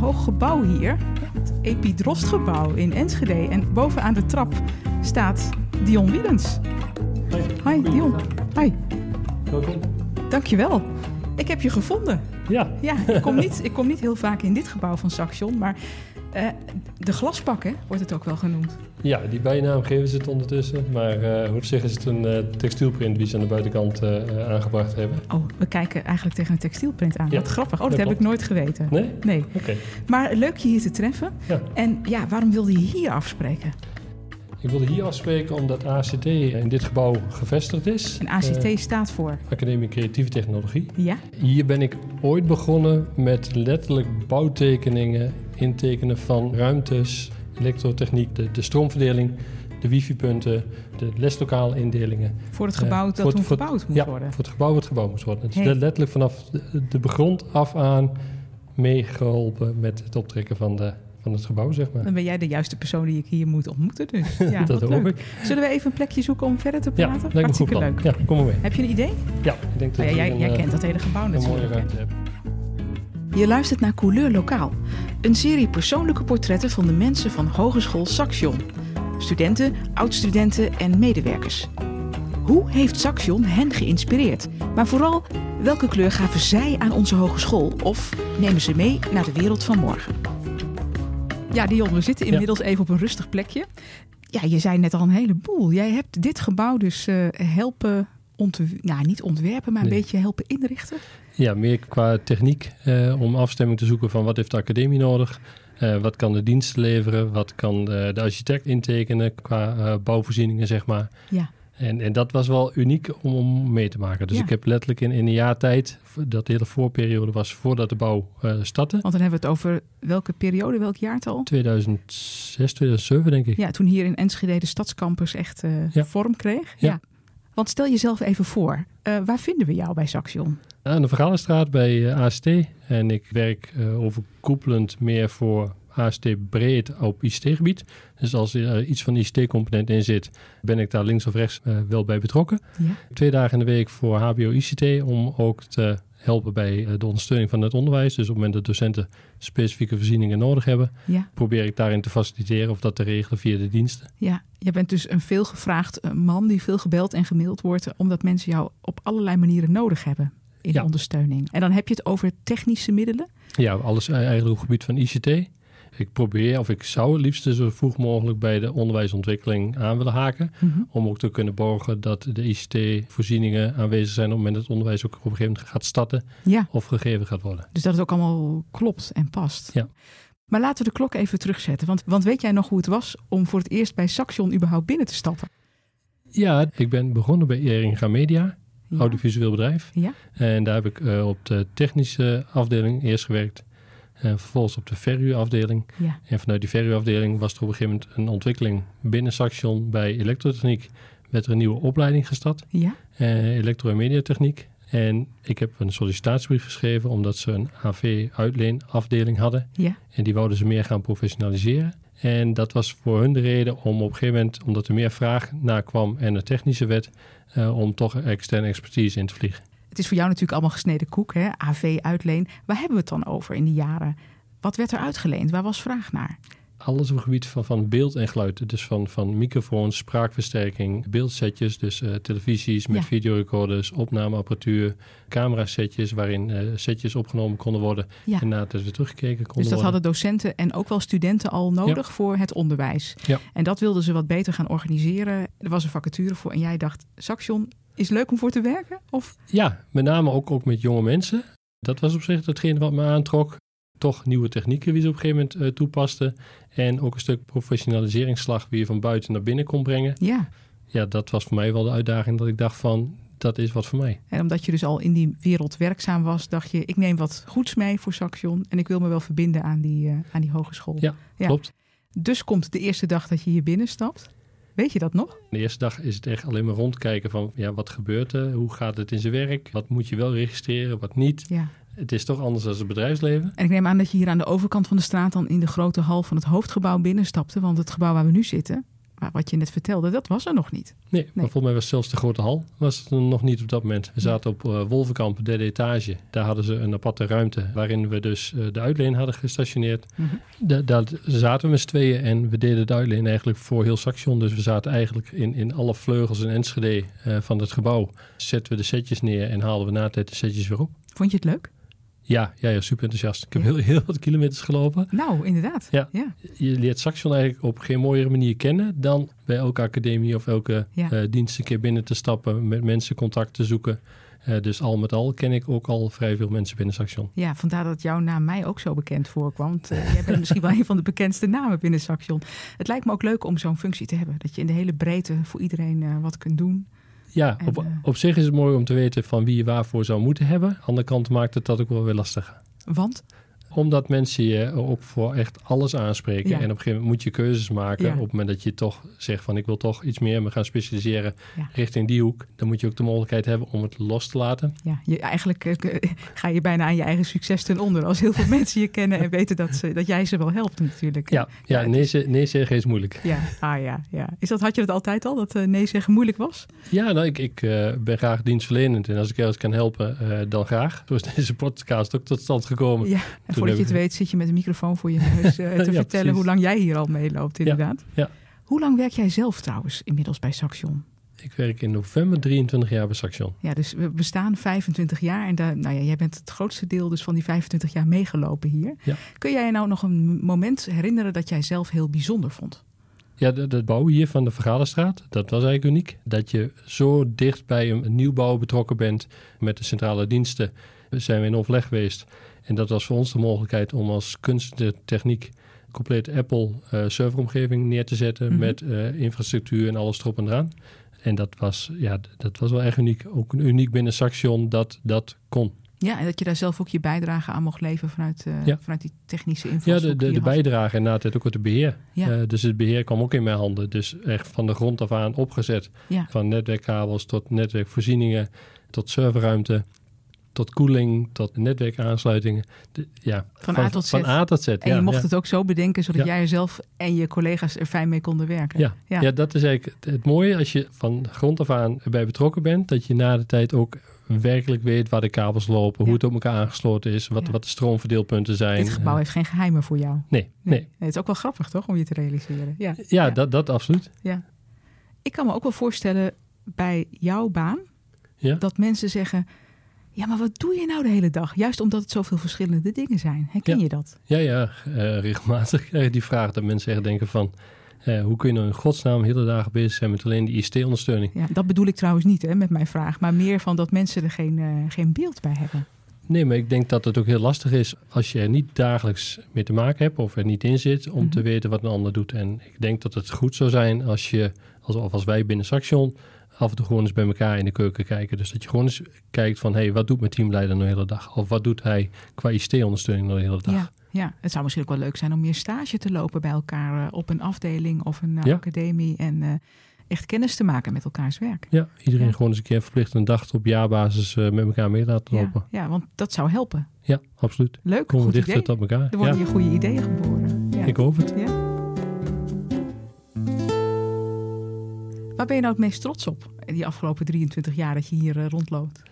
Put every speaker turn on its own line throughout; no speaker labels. hoog gebouw hier. Het Epidrostgebouw in Enschede. En bovenaan de trap staat Dion Wielens. Hi Dion. Hi,
Welkom.
dankjewel. Ik heb je gevonden.
Ja,
Ja, ik kom niet, ik kom niet heel vaak in dit gebouw van Saxion, maar eh, de glasbak hè, wordt het ook wel genoemd.
ja, die bijnaam geven ze het ondertussen. Maar eh, op zich is het een eh, textielprint die ze aan de buitenkant eh, eh, aangebracht hebben.
Oh, we kijken eigenlijk tegen een textielprint aan.
Ja,
Wat grappig. Oh, dat,
dat
heb ik
klopt.
nooit geweten.
Nee? Oké.
Nee. Maar leuk je hier te treffen.
Ja.
En ja, waarom wilde je hier afspreken?
Ik wilde hier afspreken omdat ACT in dit gebouw gevestigd is.
Een ACT
Eh,
staat voor.
Academie Creatieve Technologie.
Ja?
Hier ben ik ooit begonnen met letterlijk bouwtekeningen, intekenen van ruimtes, elektrotechniek, de, de stroomverdeling, de wifi-punten, de leslokaalindelingen.
Voor het
Eh,
gebouw dat
voor het-
toen
voor het-
gebouwd moet
ja,
worden.
voor het gebouw wat gebouwd moest worden. Het is
Hey.
le- letterlijk vanaf de, de begrond af aan meegeholpen met het optrekken van, de, van het gebouw, zeg maar.
Dan ben jij de juiste persoon die ik hier moet ontmoeten. Dus. Ja,
dat
wat
hoop
leuk.
ik.
Zullen we even een plekje zoeken om verder te
Ja,
praten?
lijkt me een goed
Hartstikke
plan.
leuk.
Ja, kom maar mee.
Heb je een idee?
Ja, ik denk dat
Nou ja,
we
jij,
een,
jij
eh,
kent dat hele gebouw
een mooie
natuurlijk. hè?
ruimte hebben.
Je luistert naar Couleur Lokaal, een serie persoonlijke portretten van de mensen van Hogeschool Saxion. Studenten, oud-studenten en medewerkers. Hoe heeft Saxion hen geïnspireerd? Maar vooral, welke kleur gaven zij aan onze hogeschool of nemen ze mee naar de wereld van morgen? Ja, Dion, we zitten inmiddels even op een rustig plekje. Ja, je zei net al een heleboel. Jij hebt dit gebouw dus eh, helpen ontwerpen, nou niet ontwerpen, maar een
Nee.
beetje helpen inrichten.
Ja, meer qua techniek eh, om afstemming te zoeken van wat heeft de academie nodig. eh wat kan de dienst leveren? Wat kan de, de architect intekenen qua eh, bouwvoorzieningen, zeg maar?
Ja.
En, en dat was wel uniek om, om mee te maken. Dus
Ja.
ik heb letterlijk in, in een jaar tijd, dat de hele voorperiode was voordat de bouw eh startte,
Want dan hebben we het over welke periode, welk jaartal?
2006, 2007 denk ik.
Ja, toen hier in Enschede de stadscampus echt eh,
Ja.
vorm kreeg. Ja.
Ja.
Want stel jezelf even voor, eh, waar vinden we jou bij Saxion?
Aan de Vergalenstraat bij eh, AST. En ik werk eh, overkoepelend meer voor AST breed op ICT-gebied. Dus als er eh, iets van ICT-component in zit, ben ik daar links of rechts eh, wel bij betrokken.
Ja.
Twee dagen in de week voor HBO-ICT om ook te helpen bij eh, de ondersteuning van het onderwijs. Dus op het moment dat docenten specifieke voorzieningen nodig hebben,
Ja,
probeer ik daarin te faciliteren of dat te regelen via de diensten.
ja. Je bent dus een veelgevraagd eh, man die veel gebeld en gemaild wordt, eh, omdat mensen jou op allerlei manieren nodig hebben in
Ja.
ondersteuning. En dan heb je het over technische middelen.
Ja, alles eigenlijk op het gebied van ICT. Ik probeer, of ik zou het liefst zo vroeg mogelijk bij de onderwijsontwikkeling aan willen haken. Om ook te kunnen borgen dat de ICT-voorzieningen aanwezig zijn op het moment dat het onderwijs ook op een gegeven moment gaat starten
Ja,
of gegeven gaat worden.
dus dat het ook allemaal klopt en past.
Ja.
Maar laten we de klok even terugzetten. Want, want weet jij nog hoe het was om voor het eerst bij Saxion überhaupt binnen te stappen?
Ja, ik ben begonnen bij Eringa Media,
Ja.
audiovisueel bedrijf.
Ja.
En daar heb ik eh, op de technische afdeling eerst gewerkt. En vervolgens op de verhuurafdeling.
Ja.
En vanuit die verhuurafdeling was er op een gegeven moment een ontwikkeling binnen Saxion bij elektrotechniek. Werd er een nieuwe opleiding gestart.
ja.
eh, elektro- en mediatechniek. En ik heb een sollicitatiebrief geschreven omdat ze een AV-uitleenafdeling hadden.
Ja.
En die wouden ze meer gaan professionaliseren. En dat was voor hun de reden om op een gegeven moment, omdat er meer vraag naar kwam en een technische wet, eh, om toch externe expertise in te vliegen.
Het is voor jou natuurlijk allemaal gesneden koek, hè? AV, uitleen. Waar hebben we het dan over in die jaren? Wat werd er uitgeleend? Waar was vraag naar? Dus
Alles op het gebied van, van beeld en geluid. Dus van, van microfoons, spraakversterking, beeldsetjes. Dus eh, televisies met
Ja.
videorecorders, opnameapparatuur, camerasetjes waarin eh, setjes opgenomen konden worden.
Ja.
En na het weer teruggekeken konden
Dus dat
worden.
hadden docenten en ook wel studenten al nodig voor het onderwijs.
Ja.
En dat wilden ze wat beter gaan organiseren. Er was een vacature voor en jij dacht, Saxion, is leuk om voor te werken? Of
Ja, met name ook, ook met jonge mensen. Dat was op zich datgene wat me aantrok. Toch nieuwe technieken die ze op een gegeven moment eh, toepasten. En ook een stuk professionaliseringsslag wie je van buiten naar binnen kon brengen.
ja.
Ja, dat was voor mij wel de uitdaging dat ik dacht van, dat is wat voor mij.
En omdat je dus al in die wereld werkzaam was, dacht je, ik neem wat goeds mee voor Saxion. En ik wil me wel verbinden aan die, eh, aan die hogeschool.
Ja,
Ja.
klopt.
Dus komt de eerste dag dat je hier binnenstapt. Weet je dat nog?
De eerste dag is het echt alleen maar rondkijken van, ja, wat gebeurt er? Hoe gaat het in zijn werk? Wat moet je wel registreren, wat niet?
Ja.
Het is toch anders dan het bedrijfsleven.
En ik neem aan dat je hier aan de overkant van de straat dan in de grote hal van het hoofdgebouw binnenstapte. Want het gebouw waar we nu zitten, Maar wat je net vertelde, dat was er nog niet.
Nee, maar volgens mij was zelfs de grote hal was het er nog niet op dat moment. We zaten op eh, Wolvenkamp, derde etage. Daar hadden ze een aparte ruimte waarin we dus eh, de uitleen hadden gestationeerd.
Mhm.
Da- daar zaten we met z'n tweeën en we deden de uitleen eigenlijk voor heel Saxion. Dus we zaten eigenlijk in, in alle vleugels en Enschede eh, van het gebouw. Zetten we de setjes neer en haalden we na tijd de setjes weer op.
Vond je het leuk?
Ja, ja, ja super enthousiast. Ik heb heel, heel wat kilometers gelopen.
Nou, inderdaad.
Ja.
ja.
Je leert Saxion eigenlijk op geen mooiere manier kennen dan bij elke academie of elke
Ja.
eh, dienst een keer binnen te stappen, met mensen contact te zoeken. Eh, dus al met al ken ik ook al vrij veel mensen binnen Saxion.
Ja, vandaar dat jouw naam mij ook zo bekend voorkwam. Want eh, jij bent misschien wel een van de bekendste namen binnen Saxion. Het lijkt me ook leuk om zo'n functie te hebben. Dat je in de hele breedte voor iedereen eh, wat kunt doen.
Ja,
En,
op,
eh,
op zich is het mooi om te weten van wie je waarvoor zou moeten hebben. Aan de andere kant maakt het dat ook wel weer lastig.
Want,
Omdat mensen je ook voor echt alles aanspreken.
Ja.
En op een gegeven moment moet je keuzes maken.
Ja.
Op het moment dat je toch zegt van ik wil toch iets meer me gaan specialiseren
Ja.
richting die hoek. Dan moet je ook de mogelijkheid hebben om het los te laten.
ja, je, eigenlijk eh, ga je bijna aan je eigen succes ten onder. Als heel veel mensen je kennen en weten dat, ze, dat jij ze wel helpt natuurlijk.
Ja, ja,
het
nee, ze- nee zeggen is moeilijk.
Ja, ah ja, ja. Is dat, had je dat altijd al, dat eh, nee zeggen moeilijk was?
Ja, nou, ik, ik eh, ben graag dienstverlenend. En als ik ergens kan helpen, eh, dan graag. Zo is deze podcast ook tot stand gekomen.
Ja, en voordat
heb
je
ik-
het weet zit je met een microfoon voor je neus eh, te
Ja,
vertellen
precies.
hoe lang jij hier al meeloopt inderdaad.
ja.
Hoe lang werk jij zelf trouwens inmiddels bij Saxion?
Ik werk in november 23 jaar bij Saxion.
Ja, dus we bestaan 25 jaar en daar, nou ja, jij bent het grootste deel dus van die 25 jaar meegelopen hier.
Ja.
Kun jij je nou nog een moment herinneren dat jij zelf heel bijzonder vond?
Ja, de- dat bouwen hier van de Vergaderstraat, dat was eigenlijk uniek. Dat je zo dicht bij een nieuwbouw betrokken bent met de centrale diensten. Daar zijn we in overleg geweest. En dat was voor ons de mogelijkheid om als kunst en techniek een complete Apple eh, serveromgeving neer te zetten
Mhm.
met eh, infrastructuur en alles erop en eraan. En dat was, ja, d- dat was wel echt uniek. Ook uniek binnen Saxion dat dat kon.
Ja, en dat je daar zelf ook je bijdrage aan mocht leveren vanuit, eh,
Ja.
vanuit die technische
Ja,
invalshoek.
de,
die
de,
je
de
had.
bijdrage en na het ook het beheer.
Ja.
Eh, dus het beheer kwam ook in mijn handen. Dus echt van de grond af aan opgezet.
Ja.
Van netwerkkabels tot netwerkvoorzieningen, tot serverruimte, tot koeling, tot netwerkaansluitingen. De- ja,
Van A tot Z.
Van A tot Z,
En
ja,
je mocht
ja.
het ook zo bedenken zodat
Ja.
jij er zelf en je collega's er fijn mee konden werken.
Ja.
Ja.
Ja. dat is eigenlijk het, het mooie als je van grond af aan erbij betrokken bent. Dat je na de tijd ook werkelijk weet waar de kabels lopen,
Ja.
hoe het op elkaar aangesloten is, wat,
Ja.
wat de stroomverdeelpunten zijn.
Dit gebouw
Eh,
heeft geen geheimen voor jou.
Nee, nee.
Het is ook wel grappig, toch, om je te realiseren. Ja.
Ja,
Ja.
Dat, dat absoluut.
Ik kan me ook wel voorstellen bij jouw baan
Ja.
dat mensen zeggen: Ja, maar wat doe je nou de hele dag? Juist omdat het zoveel verschillende dingen zijn. Herken
Ja.
je dat?
Ja, ja, eh, regelmatig krijg ik die vraag dat mensen echt denken van... eh, hoe kun je nou in godsnaam hele dagen bezig zijn met alleen die ICT-ondersteuning?
Ja, dat bedoel ik trouwens niet hè, met mijn vraag, maar meer van dat mensen er geen, eh, geen beeld bij hebben.
Nee, maar ik denk dat het ook heel lastig is als je er niet dagelijks mee te maken hebt of er niet in zit om te
Mhm.
weten wat een ander doet. En ik denk dat het goed zou zijn als je, als, of als wij binnen Saxion, af en toe gewoon eens bij elkaar in de keuken kijken. Dus dat je gewoon eens kijkt van, hé, hey, wat doet mijn teamleider nou de hele dag? Of wat doet hij qua ICT-ondersteuning nou de hele dag?
Ja, ja, het zou misschien ook wel leuk zijn om meer stage te lopen bij elkaar eh, op een afdeling of een eh,
Ja.
academie en eh, echt kennis te maken met elkaars werk.
Ja, iedereen
Ja.
gewoon eens een keer verplicht een dag op jaarbasis eh, met elkaar mee laten
Ja,
lopen.
ja, want dat zou helpen.
Ja, absoluut.
Leuk,
Komen
goed
we dichter
idee.
tot elkaar.
Er
Ja,
worden hier goede ideeën geboren. Ja.
ik hoop het.
Waar ben je nou het meest trots op in die afgelopen 23 jaar dat je hier eh, rondloopt?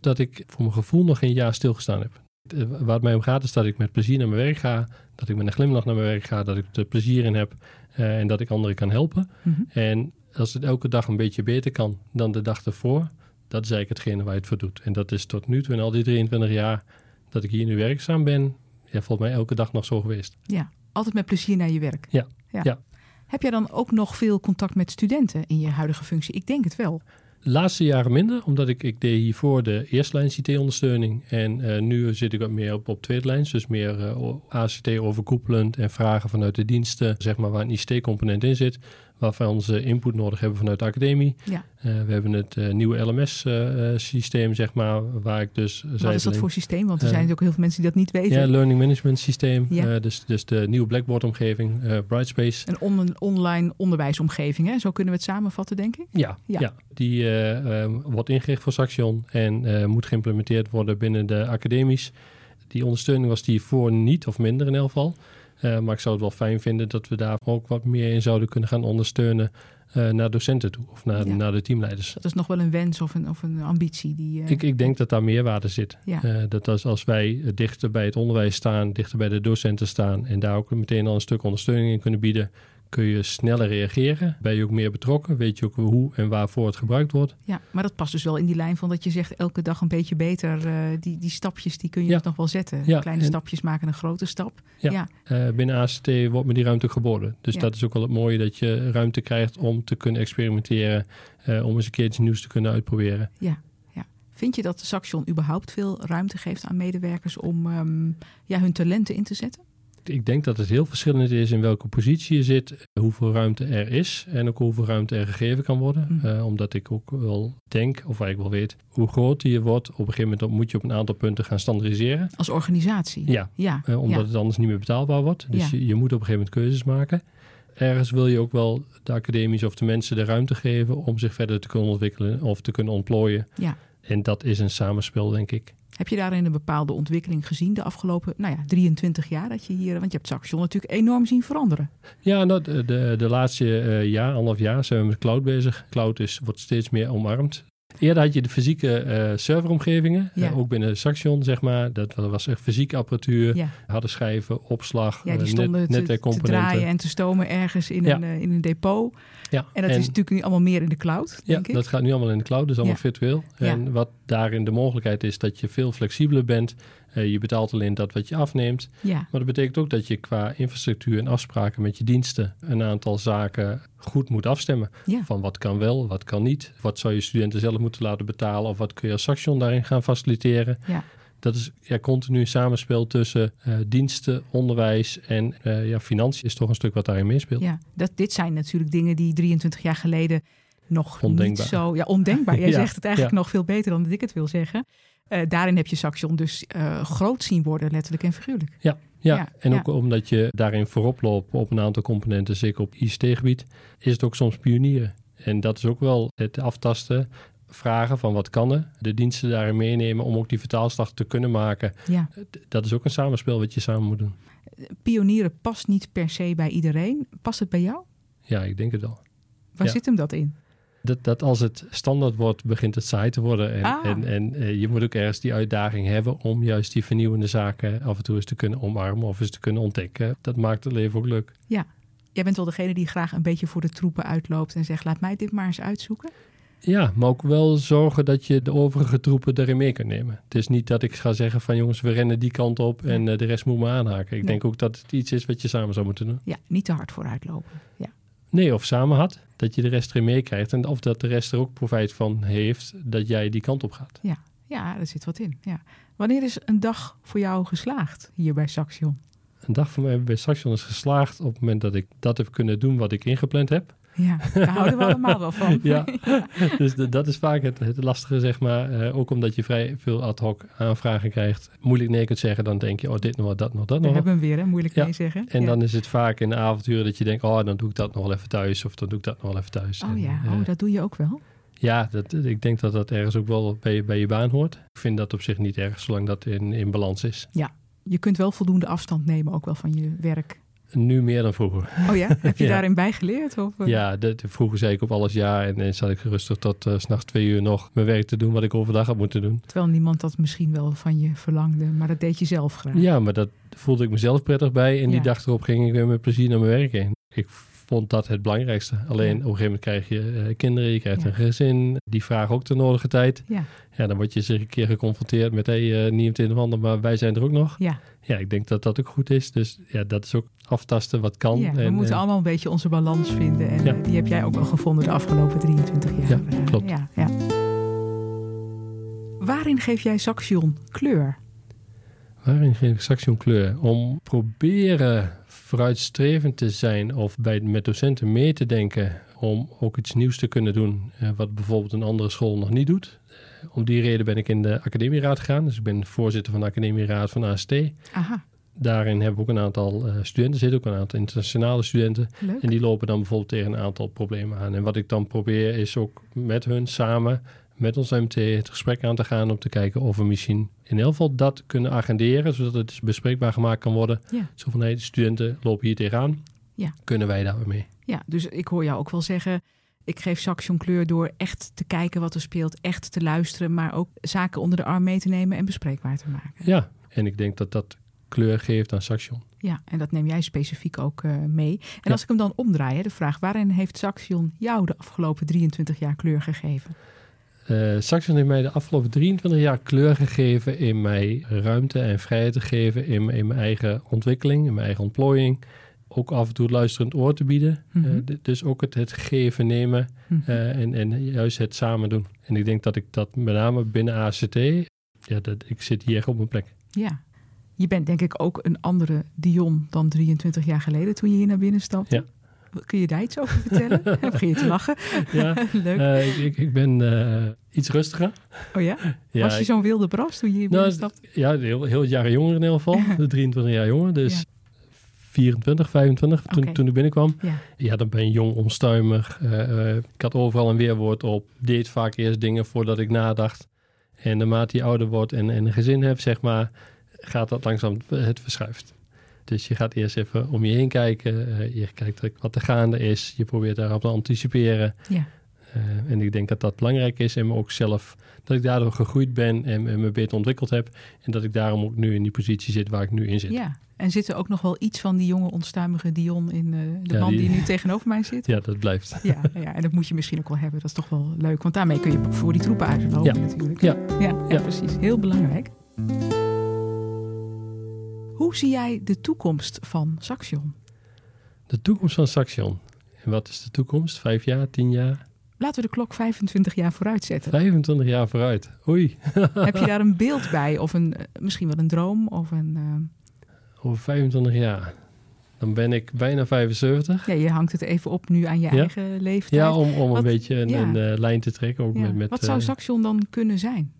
Dat ik voor mijn gevoel nog geen jaar stilgestaan heb. Eh, Waar het mij om gaat is dat ik met plezier naar mijn werk ga. Dat ik met een glimlach naar mijn werk ga. Dat ik er plezier in heb. eh, en dat ik anderen kan helpen.
Mhm.
En als het elke dag een beetje beter kan dan de dag ervoor. Dat is eigenlijk hetgene waar je het voor doet. En dat is tot nu toe in al die 23 jaar dat ik hier nu werkzaam ben. Ja, volgens mij elke dag nog zo geweest.
Ja, altijd met plezier naar je werk.
Ja, ja.
Heb jij dan ook nog veel contact met studenten in je huidige functie? Ik denk het wel.
De laatste jaren minder, omdat ik, ik deed hiervoor de eerstlijns IT-ondersteuning. En eh, nu zit ik wat meer op, op tweedlijns, dus meer eh, o- ACT overkoepelend en vragen vanuit de diensten, zeg maar waar een ICT-component in zit, waarvan ze input nodig hebben vanuit de academie.
Ja.
Eh, we hebben het eh, nieuwe LMS-systeem, eh, zeg maar, waar ik dus...
Wat is dat voor systeem? Want er zijn
Eh,
natuurlijk heel veel mensen die dat niet weten.
Ja, learning management systeem.
Ja.
Eh, dus, dus de nieuwe Blackboard-omgeving, eh, Brightspace.
Een on- online onderwijsomgeving, hè? zo kunnen we het samenvatten, denk ik.
Ja,
Ja.
ja. die eh, eh, wordt ingericht voor Saxion en eh, moet geïmplementeerd worden binnen de academies. Die ondersteuning was die voor niet of minder in elk geval. Eh, maar ik zou het wel fijn vinden dat we daar ook wat meer in zouden kunnen gaan ondersteunen eh, naar docenten toe of naar,
Ja.
naar de teamleiders.
Dat is nog wel een wens of een, of een ambitie. Die, eh,
Ik, ik denk dat daar meerwaarde zit.
Ja.
Eh, dat als, als wij eh, dichter bij het onderwijs staan, dichter bij de docenten staan en daar ook meteen al een stuk ondersteuning in kunnen bieden, kun je sneller reageren. Ben je ook meer betrokken? Weet je ook hoe en waarvoor het gebruikt wordt?
ja, maar dat past dus wel in die lijn van dat je zegt elke dag een beetje beter. eh, die, die stapjes die kun je
Ja.
dus nog wel zetten.
Ja,
Kleine
en-
stapjes maken een grote stap.
Ja.
ja.
Eh, binnen ACT wordt me die ruimte geboden. Dus
Ja.
dat is ook wel het mooie dat je ruimte krijgt om te kunnen experimenteren, eh, om eens een keer iets nieuws te kunnen uitproberen.
Vind je dat Saxion überhaupt veel ruimte geeft aan medewerkers om ehm, ja, hun talenten in te zetten?
Ik denk dat het heel verschillend is in welke positie je zit, hoeveel ruimte er is en ook hoeveel ruimte er gegeven kan worden.
Mhm.
Eh, omdat ik ook wel denk, of waar ik wel weet, hoe groter je wordt, op een gegeven moment moet je op een aantal punten gaan standaardiseren.
Als organisatie?
Ja,
Ja,
eh, omdat
ja.
het anders niet meer betaalbaar wordt. Dus
Ja.
je, je moet op een gegeven moment keuzes maken. Ergens wil je ook wel de academische of de mensen de ruimte geven om zich verder te kunnen ontwikkelen of te kunnen ontplooien.
Ja.
En dat is een samenspel, denk ik.
Heb je daarin een bepaalde ontwikkeling gezien de afgelopen nou ja, 23 jaar dat je hier... Want je hebt Saxion natuurlijk enorm zien veranderen.
Ja, nou, de, de, de laatste eh, jaar, anderhalf jaar zijn we met cloud bezig. Cloud is, wordt steeds meer omarmd. Eerder had je de fysieke eh, serveromgevingen,
Ja.
eh, ook binnen Saxion, zeg maar. Dat was echt fysieke apparatuur,
Ja,
harde schijven, opslag,
ja
eh,
die
net-
stonden te- te,
netwerkcomponenten.
draaien en te stomen ergens in,
Ja.
een, eh, in een depot.
Ja,
En dat is natuurlijk nu allemaal meer in de cloud,
Ja,
denk ik.
dat gaat nu allemaal in de cloud, dus allemaal
Ja.
virtueel.
Ja.
En wat daarin de mogelijkheid is dat je veel flexibeler bent. Eh, je betaalt alleen dat wat je afneemt.
Ja,
Maar dat betekent ook dat je qua infrastructuur en afspraken met je diensten een aantal zaken goed moet afstemmen.
Ja.
Van wat kan wel, wat kan niet. Wat zou je studenten zelf moeten laten betalen of wat kun je als Saxion daarin gaan faciliteren.
Ja.
Dat is ja, continu een samenspel tussen eh, diensten, onderwijs en eh, ja, financiën is toch een stuk wat daarin meespeelt.
ja. Dat, dit zijn natuurlijk dingen die 23 jaar geleden nog
Ondenkbaar.
niet zo... Ja, ondenkbaar. Jij
Ja,
zegt het eigenlijk nog veel beter dan dat ik het wil zeggen. Eh, daarin heb je Saxion dus eh, groot zien worden, letterlijk en figuurlijk.
Ja,
Ja,
en
ja.
ook omdat je daarin voorop loopt op een aantal componenten, zeker op ICT-gebied, is het ook soms pionieren. En dat is ook wel het aftasten, vragen van wat kan er, de diensten daarin meenemen om ook die vertaalslag te kunnen maken.
Ja.
Dat is ook een samenspel wat je samen moet doen.
pionieren past niet per se bij iedereen. Past het bij jou?
Ja, ik denk het wel.
Waar
Ja.
zit hem dat in?
Dat, dat als het standaard wordt, begint het saai te worden. En,
Ah.
en, en eh, je moet ook ergens die uitdaging hebben om juist die vernieuwende zaken af en toe eens te kunnen omarmen of eens te kunnen ontdekken. Dat maakt het leven ook leuk.
Jij bent wel degene die graag een beetje voor de troepen uitloopt en zegt: laat mij dit maar eens uitzoeken.
Ja, maar ook wel zorgen dat je de overige troepen daarin mee kan nemen. Het is niet dat ik ga zeggen van jongens, we rennen die kant op en eh, de rest moet me aanhaken. Ik
Nee.
denk ook dat het iets is wat je samen zou moeten doen.
Ja, niet te hard vooruitlopen.
Nee, of samen had, dat je de rest erin meekrijgt. En of dat de rest er ook profijt van heeft dat jij die kant op gaat.
Ja, daar zit wat in. Ja. Wanneer is een dag voor jou geslaagd hier bij Saxion?
Een dag van mij bij Saxion is geslaagd op het moment dat ik dat heb kunnen doen wat ik ingepland heb.
Ja, daar houden we allemaal wel van.
Ja, dus de- dat is vaak het, het lastige, zeg maar. Eh, ook omdat je vrij veel ad hoc aanvragen krijgt. Moeilijk nee kunt zeggen, dan denk je, oh dit nog wat, dat nog, dat
We
nog. wat.
hebben hem weer, hè? moeilijk
Ja.
mee zeggen.
En
Ja.
dan is het vaak in de avonduren dat je denkt, oh, dan doe ik dat nog wel even thuis. Of dan doe ik dat nog wel even thuis.
Oh
En,
ja,
eh,
oh, dat doe je ook wel.
ja dat, ik denk dat dat ergens ook wel bij je, bij je baan hoort. Ik vind dat op zich niet erg, zolang dat in, in balans is.
Je kunt wel voldoende afstand nemen ook wel van je werk.
Nu meer dan vroeger.
Oh ja, heb je
Ja.
daarin bijgeleerd? Of, eh?
Ja, dat, vroeger zei ik op alles ja. En, en zat ik rustig tot eh, 's s'nachts twee uur nog mijn werk te doen wat ik overdag had moeten doen.
Terwijl niemand dat misschien wel van je verlangde, maar dat deed je zelf graag.
Ja, maar dat voelde ik mezelf prettig bij. En
Ja.
die dag erop ging ik weer met plezier naar mijn werk heen. Ik vond dat het belangrijkste. Alleen
Ja.
op een gegeven moment krijg je eh, kinderen, je krijgt
Ja.
een gezin. Die vragen ook de nodige tijd.
Ja.
ja dan word je zich een keer geconfronteerd met... hé, hey, eh, niet het een of ander, maar wij zijn er ook nog.
Ja.
Ja, ik denk dat dat ook goed is. Dus ja, dat is ook aftasten wat kan.
Ja, we
En,
moeten
eh,
allemaal een beetje onze balans vinden. En
Ja.
eh, die heb jij ook wel gevonden de afgelopen 23 jaar.
Ja,
Eh,
klopt.
Ja, ja. Waarin geef jij Saxion kleur?
Waarin geef ik straks een kleur? Om proberen vooruitstrevend te zijn of bij, met docenten mee te denken om ook iets nieuws te kunnen doen eh, wat bijvoorbeeld een andere school nog niet doet. Eh, Om die reden ben ik in de academieraad gegaan. Dus ik ben voorzitter van de academieraad van AST.
Aha,
Daarin hebben we ook een aantal eh, studenten zitten, ook een aantal internationale studenten.
leuk.
En die lopen dan bijvoorbeeld tegen een aantal problemen aan. En wat ik dan probeer is ook met hun samen met ons MT het gesprek aan te gaan om te kijken of we misschien in elk geval dat kunnen agenderen, zodat het dus bespreekbaar gemaakt kan worden.
Ja.
Zo van, hé, de studenten lopen hier tegenaan.
Ja.
Kunnen wij daar mee?
Ja, dus ik hoor jou ook wel zeggen. Ik geef Saxion kleur door echt te kijken wat er speelt, echt te luisteren, maar ook zaken onder de arm mee te nemen en bespreekbaar te maken.
Ja, en ik denk dat dat kleur geeft aan Saxion.
Ja, en dat neem jij specifiek ook eh, mee. En
Ja.
als ik hem dan omdraai, hè, de vraag: waarin heeft Saxion jou de afgelopen 23 jaar kleur gegeven?
Eh Saxion heeft mij de afgelopen 23 jaar kleur gegeven in mij ruimte en vrijheid te geven in, in mijn eigen ontwikkeling, in mijn eigen ontplooiing. Ook af en toe luisterend oor te bieden.
Mhm.
Eh, d- dus ook het, het geven, nemen
Mhm.
eh, en, en juist het samen doen. En ik denk dat ik dat met name binnen ACT, ja, dat, ik zit hier echt op mijn plek.
Ja. Je bent denk ik ook een andere Dion dan 23 jaar geleden toen je hier naar binnen stapte. Kun je daar iets over vertellen? Dan begin je te lachen.
Ja,
Leuk.
eh, ik, ik ben eh, iets rustiger.
oh ja?
Eh, Ja,
Was je
ik-
zo'n wilde bras toen je hier
Nou,
binnen stapte?
Ja, heel, heel jaren jonger in ieder geval. De 23 jaar jonger, dus
Ja.
24, 25 toen,
Oké.
toen ik binnenkwam.
Ja.
Ja, dan ben je jong, onstuimig. Eh, eh, ik had overal een weerwoord op. Deed vaak eerst dingen voordat ik nadacht. En naarmate je ouder wordt en, en een gezin hebt, zeg maar, gaat dat langzaam, het verschuift. Dus je gaat eerst even om je heen kijken. Eh, je kijkt wat er gaande is. Je probeert daarop te anticiperen.
Ja.
Eh, en ik denk dat dat belangrijk is en me ook zelf, dat ik daardoor gegroeid ben en, en me beter ontwikkeld heb. En dat ik daarom ook nu in die positie zit waar ik nu in zit.
Ja, en zit er ook nog wel iets van die jonge onstuimige Dion in eh, de
Ja,
man die...
die-
nu tegenover mij zit?
Ja, dat blijft.
Ja, ja, en dat moet je misschien ook wel hebben. Dat is toch wel leuk, want daarmee kun je voor die troepen uitlopen
Ja.
natuurlijk.
Ja.
Ja, ja,
Ja.
precies. Heel belangrijk. Hoe zie jij de toekomst van Saxion?
De toekomst van Saxion. En wat is de toekomst? Vijf jaar, tien jaar,
Laten we de klok 25 jaar vooruit zetten.
25 jaar vooruit. Oei,
Heb je daar een beeld bij? Of een, eh, misschien wel een droom? Of een, eh,
over 25 jaar. Dan ben ik bijna 75.
ja, je hangt het even op nu aan je
Ja.
eigen leeftijd.
Ja, om, om
Wat-
een beetje een,
ja.
een, eh, lijn te trekken. Ook
Ja.
met, met,
Wat zou
eh,
Saxion dan kunnen zijn?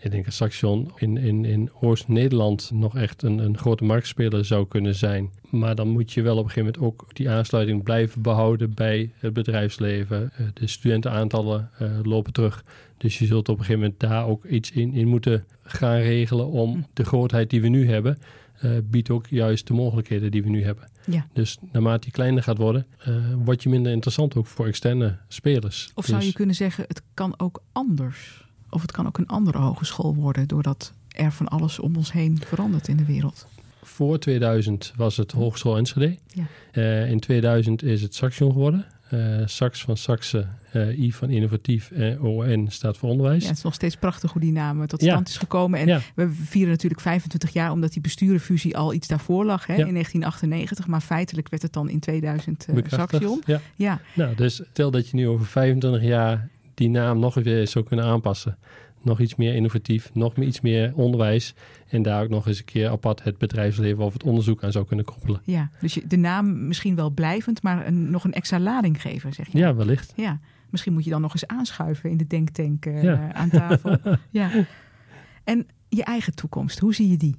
ik denk dat Saxion in, in, in Oost-Nederland nog echt een, een grote marktspeler zou kunnen zijn. Maar dan moet je wel op een gegeven moment ook die aansluiting blijven behouden bij het bedrijfsleven. Eh, De studentenaantallen eh, lopen terug. Dus je zult op een gegeven moment daar ook iets in, in moeten gaan regelen
Hm.
om de grootheid die we nu hebben. eh, biedt ook juist de mogelijkheden die we nu hebben.
Ja.
Dus naarmate die kleiner gaat worden, eh word je minder interessant ook voor externe spelers.
Of zou
Dus-
je kunnen zeggen, het kan ook anders? Of het kan ook een andere hogeschool worden, doordat er van alles om ons heen verandert in de wereld.
Voor 2000 was het Hogeschool Enschede.
Ja.
Eh, in 2000 is het Saxion geworden. Eh, Sax van Saxe, eh, I van innovatief en ON staat voor onderwijs.
Ja, het is nog steeds prachtig hoe die naam tot
Ja.
stand is gekomen. En
Ja.
we vieren natuurlijk 25 jaar, omdat die besturenfusie al iets daarvoor lag hè,
Ja.
in 1998. Maar feitelijk werd het dan in 2000 eh,
Bekrachtigd.
Saxion.
Ja.
Ja,
Nou, dus stel dat je nu over 25 jaar die naam nog eens zou kunnen aanpassen. Nog iets meer innovatief, nog meer, iets meer onderwijs. En daar ook nog eens een keer apart het bedrijfsleven of het onderzoek aan zou kunnen koppelen.
ja. Dus je- de naam misschien wel blijvend, maar een, nog een extra lading geven, zeg je.
Ja, wellicht.
Ja, misschien moet je dan nog eens aanschuiven in de denktank eh,
Ja.
aan tafel. ja. En je eigen toekomst, hoe zie je die?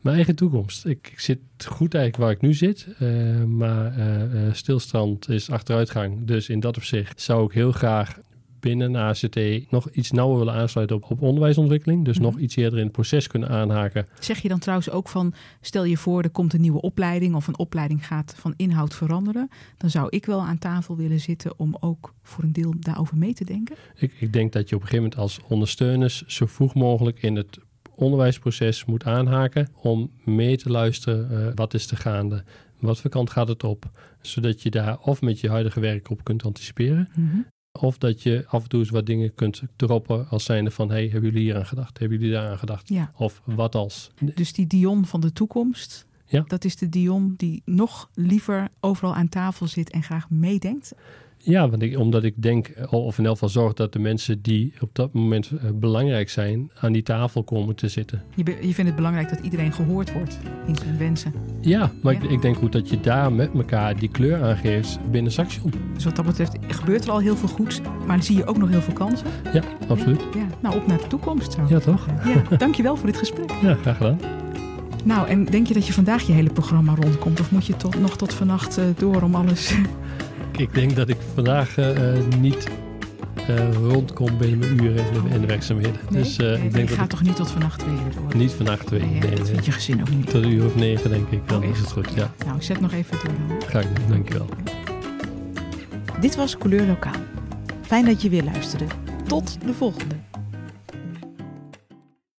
Mijn eigen toekomst. Ik, ik zit goed eigenlijk waar ik nu zit. eh, maar eh, eh, stilstand is achteruitgang. Dus in dat opzicht zou ik heel graag binnen ACT nog iets nauwer willen aansluiten op, op onderwijsontwikkeling. Dus
Mhm.
nog iets eerder in het proces kunnen aanhaken.
Zeg je dan trouwens ook van, stel je voor er komt een nieuwe opleiding of een opleiding gaat van inhoud veranderen, dan zou ik wel aan tafel willen zitten om ook voor een deel daarover mee te denken.
Ik, ik denk dat je op een gegeven moment als ondersteuners zo vroeg mogelijk in het onderwijsproces moet aanhaken om mee te luisteren eh, wat is er gaande, wat voor kant gaat het op, zodat je daar of met je huidige werk op kunt anticiperen. Of dat je af en toe eens wat dingen kunt droppen als zijnde van... hey, hebben jullie hier aan gedacht? Hebben jullie daar aan gedacht?
Ja.
Of wat als?
Dus die Dion van de toekomst,
Ja.
dat is de Dion die nog liever overal aan tafel zit en graag meedenkt.
Ja, want ik, omdat ik denk, eh, of in elk geval zorg dat de mensen die op dat moment eh, belangrijk zijn... aan die tafel komen te zitten.
Je, be- je vindt het belangrijk dat iedereen gehoord wordt in zijn wensen.
Ja, maar
Ja.
Ik, ik denk goed dat je daar met elkaar die kleur aangeeft binnen Saxion.
Dus wat dat betreft gebeurt er al heel veel goeds, maar zie je ook nog heel veel kansen.
Ja, absoluut.
Ja, nou, op naar de toekomst zo.
Ja, toch?
ja dankjewel voor dit gesprek.
Ja, graag gedaan.
Nou, en denk je dat je vandaag je hele programma rondkomt? Of moet je tot, nog tot vannacht eh, door om alles...
Ik denk dat ik vandaag eh, eh, niet eh, rondkomt binnen mijn uren en werkzaamheden.
Nee?
Dus eh,
Nee,
ik
je
denk dat
gaat
ik
toch niet tot vannacht twee uur door?
niet vannacht twee. eh.
Nee, hè,
Nee,
dat
nee.
vindt je gezin ook niet.
Tot een uur of negen denk ik, dan
Oh,
is
echt?
het goed. Ja,
Nou, ik zet nog even door.
ga ik doen. Dankjewel.
Dit was Couleur Lokaal. Fijn dat je weer luisterde. Tot de volgende.